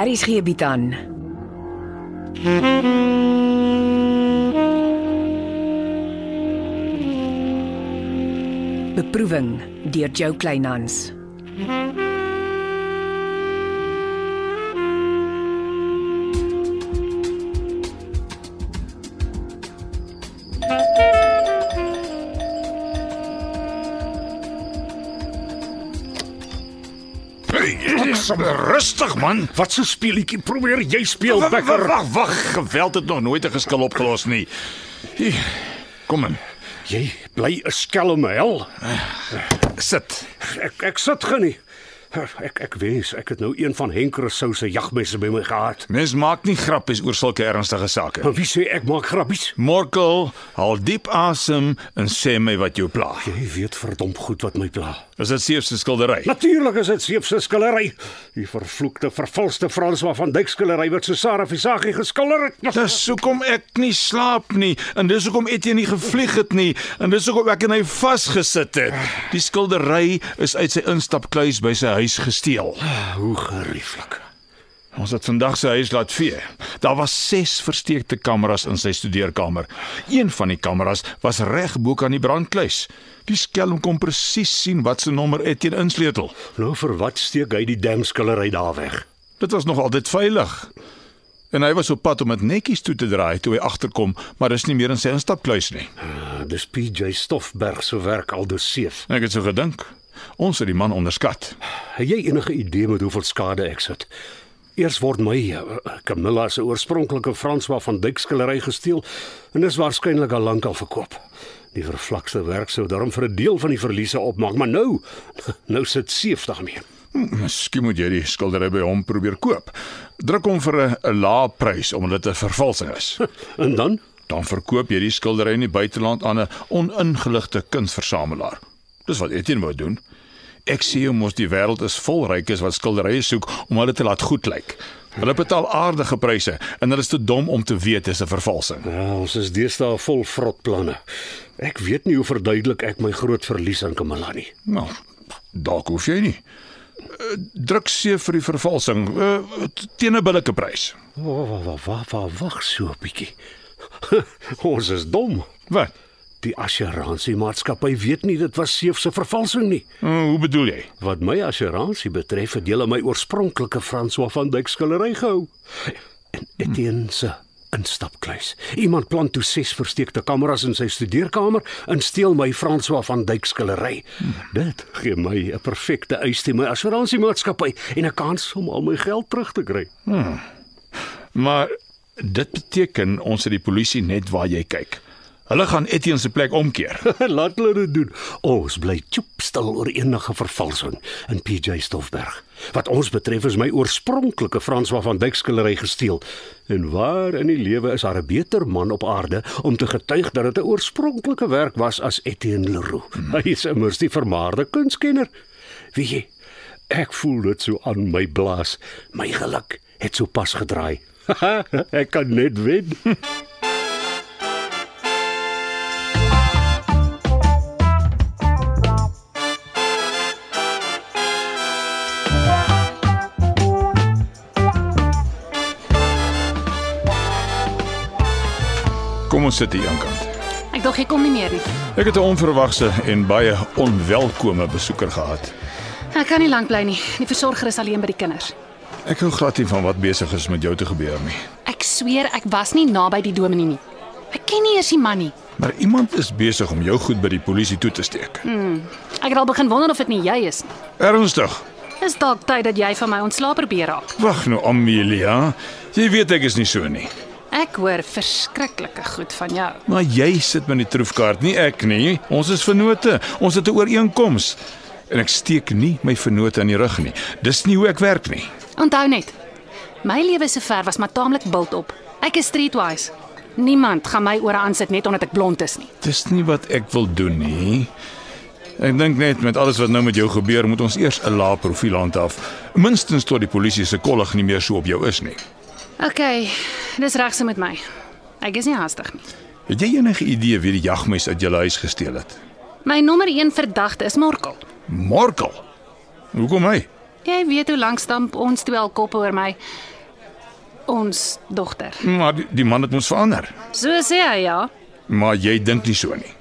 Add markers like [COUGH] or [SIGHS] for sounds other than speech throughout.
Aries gee bied aan. Beproeving deur Jo Kleinhans. Hey, sommer rustig man. Wat so speelietjie probeer jy speel, Wa- wa- Becker? Wag, wag, geweld het nog nooit 'n geskil opgelos nie. Hier, Kom in. Jy bly 'n skelm hel. Sit. Ek ek sit genie. Ek ek wens ek het nou een van Henk Rousseau se jagmesse by my gehad. Mens maak nie grappies oor sulke ernstige sake. Maar wie sê ek maak grappies? Morkel, haal diep asem en sê my wat jou pla. Jy weet verdomp goed wat my pla. Is dit seef se skildery? Natuurlik is dit seep se skillery. Die vervloekte vervalste Franswa van Dyk skillery wat Susara Visagie geskilder het. Dis hoekom ek nie slaap nie en dis hoekom Etienne nie gevlieg het nie en dis hoekom ek en hy vasgesit het. Die skildery is uit sy instapkluis by sy huis gesteel. Ah, Hoe gerieflik. Ons het vandag sy huis laat vee. Daar was 6 versteekte kameras in sy studeerkamer. Een van die kameras was reg bo kan die brandkluis. Die skelm kon presies sien wat se nommer Etienne insleutel. Nou vir wat steek hy die dam skillery daar weg? Dit was nog altyd veilig. En hy was op pad om dit netjies toe te draai toe hy agterkom, maar dis nie meer in sy instapkluis nie. Ah, Dis PJ Stoffberg se werk al doseef. Ek het so gedink. Ons het die man onderskat. Het jy enige idee met hoeveel skade ek sit? Eers word my eh, Camilla se oorspronklike Franswa van Dyk skillery gesteel en is waarskynlik al lank al verkoop. Die vervlakste werk sou daarom vir 'n deel van die verliese opmaak, maar nou [LAUGHS] nou sit seef daarmee. Hm, Miskien moet jy die skildery by hom probeer koop. Druk hom vir 'n- 'n lae prys omdat dit 'n vervalsing is. En dan Dan verkoop jy die skildery in die buiteland aan 'n oningeligte kunstversamelaar. Dis wat Etienne wou doen. Ek sê jy mos die wêreld is vol rykes wat skilderye soek om hulle te laat goed lyk. Hulle betaal aardige pryse en hulle is te dom om te weet dis 'n vervalsing. Ja, ons is deesdae vol vrotplanne. Ek weet nie hoe verduidelik ek my groot verlies aan Camilla nie. Nou, dalk hoef jy nie. Eh, Druk seë vir die vervalsing eh, t- teen 'n billike prys. Wag so 'n bietjie. [LAUGHS] ons is dom. Wat? Die assuransiemaatskappy weet nie dit was seef se vervalsing nie. Eh, Hoe bedoel jy? Wat my assuransie betref, het hulle my oorspronklike François van Dyk skillery gehou. En Etienne se instapkluis. Iemand plant toe ses versteekte kameras in sy studeerkamer en steel my François van Dyk skillery. Dit gee my 'n perfekte eis teen my assuransiemaatskappy en 'n kans om al my geld terug te kry. Maar dit beteken ons het die polisie net waar jy kyk. Hulle gaan Etienne se plek omkeer. [LAUGHS] Laat hulle dit doen. Ons bly chop stil oor enige vervalsing in PJ Stoffberg. Wat ons betref is my oorspronklike Franswa van Dyk skillery gesteel. En waar in die lewe is daar 'n beter man op aarde om te getuig dat dit 'n oorspronklike werk was as Etienne Leroux? Hy is immers die vermaarde kunstkenner. Wie jy? Ek voel dit so aan my blaas. My geluk het so pas gedraai. [LAUGHS] ek kan net wen. Kom ons sit hier aan kant. Ek dink ek kom nie meer nie. Ek het 'n onverwagse en baie onwelkome besoeker gehad. Ek kan nie lank bly nie. Die versorger is alleen by die kinders. Ek hou glad nie van wat besig is met jou te gebeur nie. Ek sweer ek was nie naby die dominee nie. Ek ken nie eers die man nie. Maar iemand is besig om jou goed by die polisie toe te steek. Ek het al begin wonder of dit nie jy is nie. Ernstig. Is dalk tyd dat jy van my ontslae probeer raak. Wag nou, Amelia. Jy weet ek is nie so nie. Ek hoor verskriklike goed van jou. Maar jy sit met die troefkaart, nie ek nie. Ons is vennote. Ons het 'n ooreenkoms. En ek steek nie my vennote aan die rug nie. Dis nie hoe ek werk nie. Onthou net, my lewe sover was maar taamlik bult op. Ek is streetwise. Niemand gaan my ore aansit net omdat ek blond is nie. Dis nie wat ek wil doen nie. Ek dink net met alles wat nou met jou gebeur, moet ons eers 'n lae profiel handhaaf. Minstens tot die polisie se kollig nie meer so op jou is nie. OK, dis regse met my. Ek is nie haastig nie. Het jy enige idee wie die jagmes uit jou huis gesteel het? My nommer 1 verdagte is Morkel. Morkel. Hoekom hy? Jy weet hoe lank stamp ons twee al koppe oor my ons dogter. Maar die, die man het mos verander. So sê hy ja. Maar jy dink nie so nie.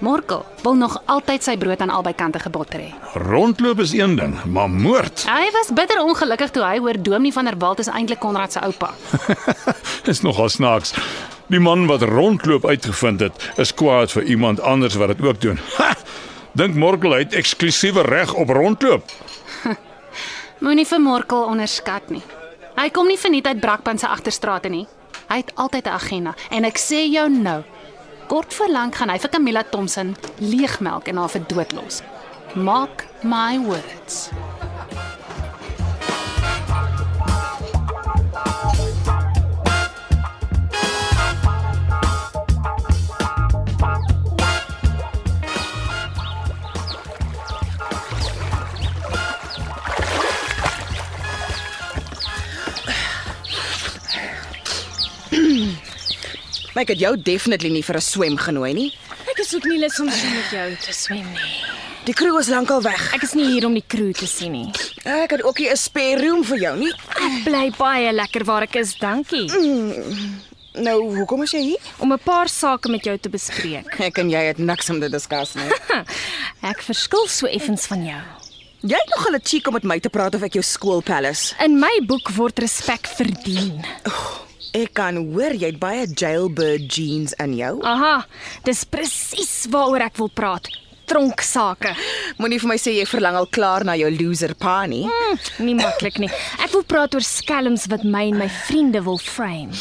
Morkel wil nog altyd sy brood aan albei kante gebotter hê. Rondloop is een ding, maar moord Hy was bitter ongelukkig toe hy hoor Dominee van der Walt is eintlik Konrad se oupa. [LAUGHS] is nogal snaaks. Die man wat rondloop uitgevind het, is kwaad vir iemand anders wat dit ook doen. Ha! Dink Morkel hy het eksklusiewe reg op rondloop. Moenie vir Morkel onderskat nie. Hy kom nie verniet uit Brakpan se agterstrate nie. Hy het altyd 'n agenda en ek sê jou nou, kort voor lank gaan hy vir Camilla Thomson leegmelk en haar vir dood los. Mark my words. Maar ek het jou definitely nie vir 'n swem genooi nie. Ek is ook nie lus om so met jou te swem nie. Die crew is lankal weg. Ek is nie hier om die crew te sien nie. Ek het ook nie 'n spare room vir jou nie. Ek bly baie lekker waar ek is, dankie. Nou, hoekom is jy hier? Om 'n paar sake met jou te [LAUGHS] bespreek. Ek en jy het niks om te discuss nie. Ek verskil so effens van jou. [LAUGHS] Jy het nog hulle cheek om met my te praat of ek jou skoolpalace. In my boek word respek verdien. Ek kan hoor jy het baie jailbird jeans aan jou. Aha, dis presies waaroor ek wil praat. Tronk sake. Moenie vir my sê jy verlang al klaar na jou loser pa nie. Hm, nie maklik nie. Ek wil praat oor skelms wat my en my vriende wil frame.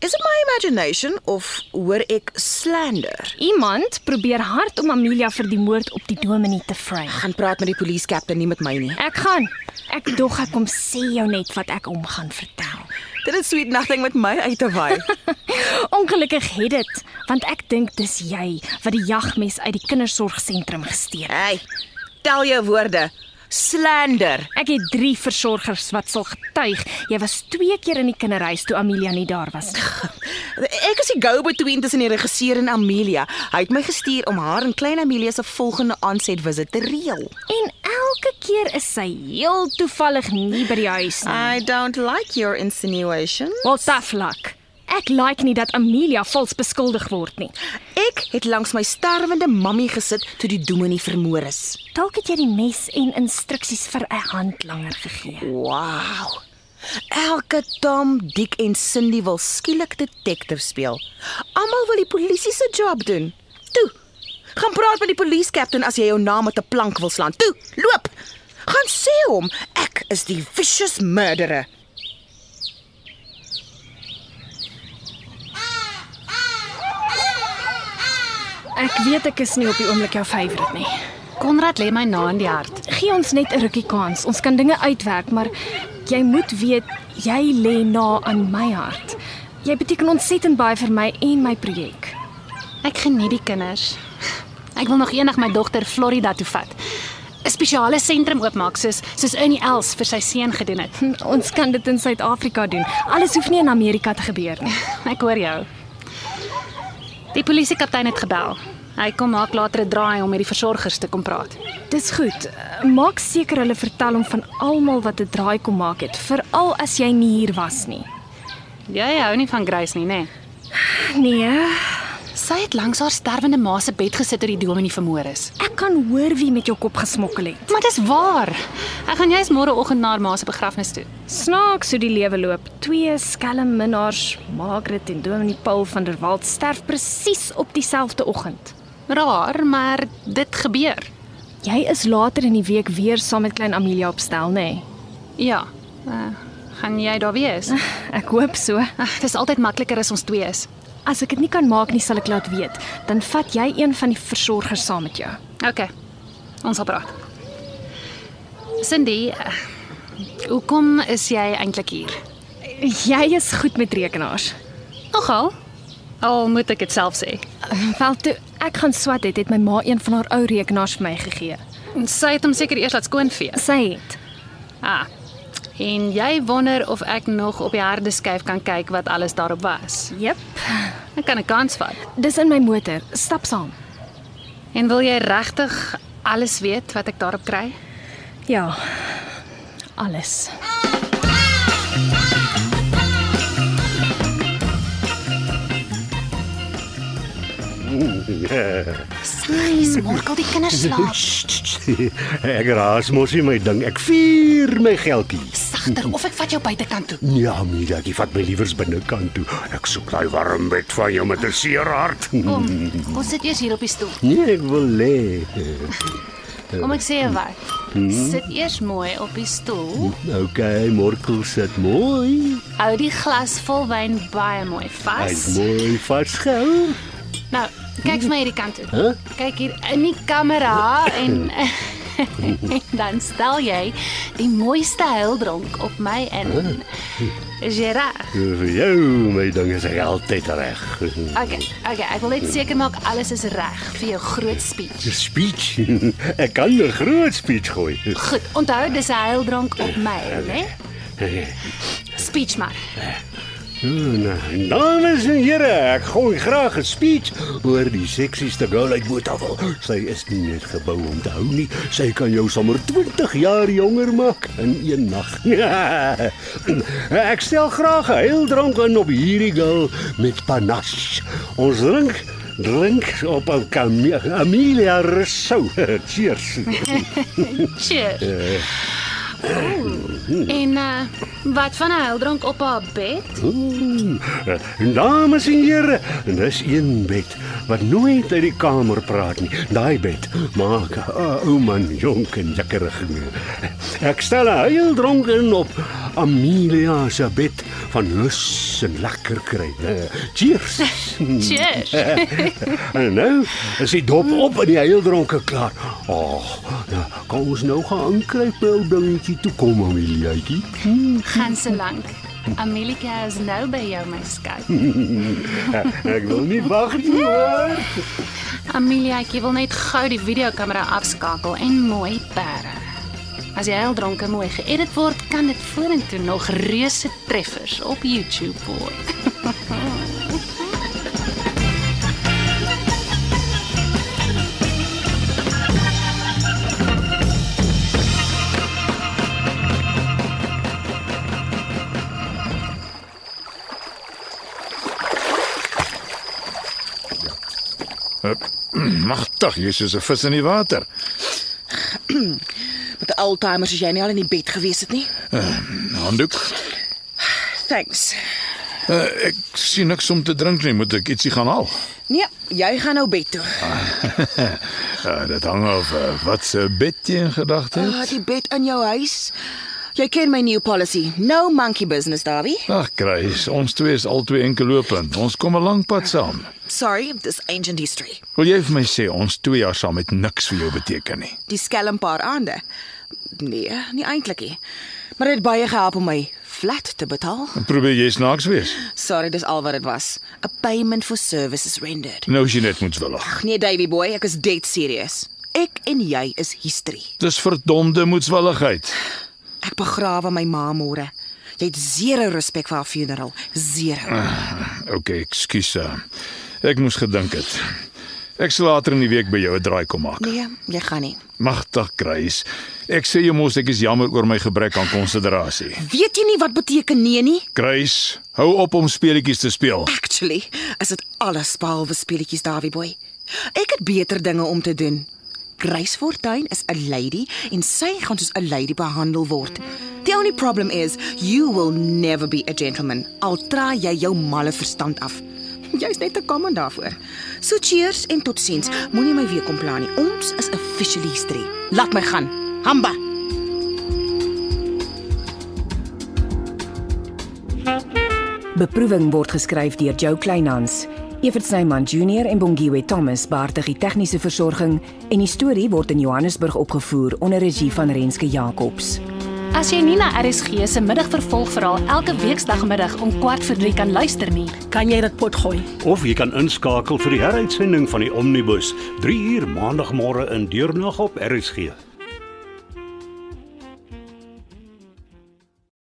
Is it my imagination of hoor ek slander? Iemand probeer hard om Amelia vir die moord op die dominee te frame. Gaan praat met die polisie kaptein nie met my nie. Ek gaan. Ek dog ek kom sê jou net wat ek om gaan vertel. [LAUGHS] Dit is sweet nothing met my uit te waai. Ongelukkig het dit, want ek dink dis jy wat die jagmes uit die kindersorgsentrum gesteer het. [LAUGHS] hey, tel jou woorde. Slander. Ek het 3 versorgers wat sal getuig. Jy was 2 keer in die kinderhuis toe Amelia nie daar was nie. Ek is die go-between tussen die regisseur en Amelia. Hy het my gestuur om haar en klein Amelia se volgende aanset visit te reël. En elke keer is sy heel toevallig nie by die huis nie. I don't like your insinuation. Well, tough luck. Ek like nie dat Amelia vals beskuldig word nie. Ek het langs my sterwende mammie gesit toe die dominee vermoor is. Dalk het jy die mes en instruksies vir 'n handlanger gegee. Wow. Elke Tom, Dick en Cindy wil skielik detektief speel. Almal wil die polisie se job doen. Toe. Gaan praat met die polisie kaptein as jy jou naam met 'n plank wil slaan. Toe, loop. Gaan sê hom ek is die vicious murderer. Ek weet ek is nie op die oomblik jou favourite nie. Konrad lê my na in die hart. Gee ons net 'n rukkie kans. Ons kan dinge uitwerk, maar jy moet weet jy lê na aan my hart. Jy beteken ontsettend baie vir my en my projek. [LAUGHS] Ek geniet die kinders. Ek wil nog eendag my dogter Florida toe vat. 'n Spesiale sentrum oopmaak soos soos Ernie Els vir sy seun gedoen het. [LAUGHS] Hm, Ons kan dit in Suid-Afrika doen. Alles hoef nie in Amerika te gebeur nie. Ek hoor jou. Die polisiekaptein het gebel. Hy kom maak later 'n draai om met die versorgers te kom praat. Dis goed. Maak seker hulle vertel hom van almal wat 'n draai kom maak het, veral as jy nie hier was nie. Jy hou nie van Grace nie, nê? Nee, Sy het langs haar sterwende ma se bed gesit toe die dominee vermoor is. ek kan hoor wie met jou kop gesmokkel het. Maar dis waar. Ek gaan jous môreoggend na haar ma se begrafnis toe. Snaaks hoe die lewe loop. Twee skelm minnaars, Margaret en Dominee Paul van der Walt sterf presies op dieselfde oggend. Raar, maar dit gebeur. Jy is later in die week weer saam met klein Amelia op stel, nê? Nee. Ja. Uh, gaan jy daar wees? Ek hoop so. Ag, dis altyd makliker as ons twee is. As ek dit nie kan maak nie, sal ek laat weet. Dan vat jy een van die versorgers saam met jou. OK. Ons sal praat. Cindy, eh, hoekom is jy eintlik hier? Jy is goed met rekenaars. Nogal. Al moet ek dit self sê. Wel toe ek gaan swat het, het my ma een van haar ou rekenaars vir my gegee. Sy het hom seker eers laat skoonvee. Sy het. Ah. En jy wonder of ek nog op die hardeskyf kan kyk wat alles daarop [SIGHS] was. Jep. Ek kan 'n kans vat. Dis in my motor. Stap saam. En wil jy regtig alles weet wat ek daarop kry? Ja. alles. Saggies, Morkel, die kinders slaap. ek raas mos nie my ding. Ek vier my geldjie. Sagter of ek vat jou buitekant toe. Ja, Mila, jy vat my liewers binnekant toe. Ek soek daai warm bed van jou met 'n seer hart. Kom, kom sit eers hier op die stoel. Nee, ek wil lê. Kom ek sê jou wat. Mhm. Sit eers mooi op die stoel. Okay, Morkel sit mooi. Hou die glas vol wyn baie mooi Hy's vas. mooi vasgehou. Nou, kyk vir my hierdie kant toe. Kyk hier in die kamera [LAUGHS] en en dan stel jy die mooiste huildronk op my in. Is jy reg? Vir jou, my ding is ek altyd reg. [LAUGHS] Okay, okay, ek wil net seker maak alles is reg vir jou groot speech. Speech. [LAUGHS] Ek kan 'n groot speech gooi. Goed, onthou dis 'n huildronk op my, Ja, né? Speech maar. Nou, dames en here, ek gooi graag 'n speech oor die seksieste girl uit Botawil. Sy is nie net gebou om te hou nie, sy kan jou sommer 20 jaar jonger maak in een nag. [LAUGHS] ek stel graag 'n heeldrank in op hierdie girl met panache. Ons drink drink op 'n Cam- Amelia Rousseau. [LAUGHS] Cheers. Cheers. Ooh, en uh, wat van 'n huildronk op haar bed? Oeh, eh, Dames en here, dis een bed wat nooit uit die kamer praat nie. Daai bed maak 'n ou man jonk en lekkerig. Ek stel 'n heel dronken op Amelia se bed van lus en lekker kry. Eh, Cheers. Cheers. en nou is die dop op en die heel dronke klaar. Ag, oh, nou, kom ons nou gaan inkruip by ou dingetjie toe kom Ameliaatjie. Gaan se lank. Amelika is nou by jou my skat. Ek wil nie wag nie hoor. Amelia, ek wil net gou die videokamera afskakel en mooi pere. As jy heel dronke mooi geëdit word, kan dit vorentoe nog reuse treffers op YouTube word. Magtig, jy's soos 'n vis in die water. Met 'n oldtimer as jy nie al in die bed gewees het nie. Handdoek. Thanks. Uh, ek sien niks om te drink nie, moet ek ietsie gaan haal. Nee, jy gaan nou bed toe. Uh, dit hang af uh, wat se bed jy in gedagte Ah, het. die bed in jou huis. Jy ken my new policy. No monkey business, Darby. Ag, Grace, ons twee is al twee enkel lopend. Ons kom 'n lang pad saam. Sorry, dis ancient history. Wil jy vir my sê ons 2 jaar saam het niks vir jou beteken nie? Die skelm paar aande. Nee, nie eintlik nie. Maar dit het baie gehelp om my flat te betaal. Probeer jy snaaks wees. Sorry, dis al wat dit was. 'n Payment for services rendered. Nou as jy net moet willig. Ag nee, Davey boy, ek is dead serious. Ek en jy is history. Dis verdomde moetswilligheid. Ek begrawe my ma môre. Jy het zero respek vir haar funeral. Zero. OK, ekskuus. eh, Ek moes gedink het. Ek sal later in die week by jou 'n draai kom maak. Nee, jy gaan nie. Magtig, Grace. Ek sê jy mos ek is jammer oor my gebrek aan konsiderasie. Weet jy nie wat beteken nee nie? Grace, hou op om speletjies te speel. Actually, is dit alles behalwe speletjies Davie boy. Ek het beter dinge om te doen. Grace Fortuin is 'n lady en sy gaan soos 'n lady behandel word. The only problem is you will never be a gentleman. Al try jy jou malle verstand af. [LAUGHS] Jy's net te kom en daarvoor. So cheers en totsiens. Moenie my weer kom pla nie. Ons is officially history. Laat my gaan. Hamba. Beproeving word geskryf deur Jo Kleinhans. Evert Snyman Junior en Bongwe Thomas baartig die tegniese versorging en die storie word in Johannesburg opgevoer onder regie van Renske Jacobs. As jy nie na RSG se middagvervolgverhaal elke weekdagmiddag om 14:15 kan luister nie, Kan jy dit potgooi? Of jy kan inskakel vir die heruitsending van die Omnibus 3 uur maandagmôre in deernag op RSG.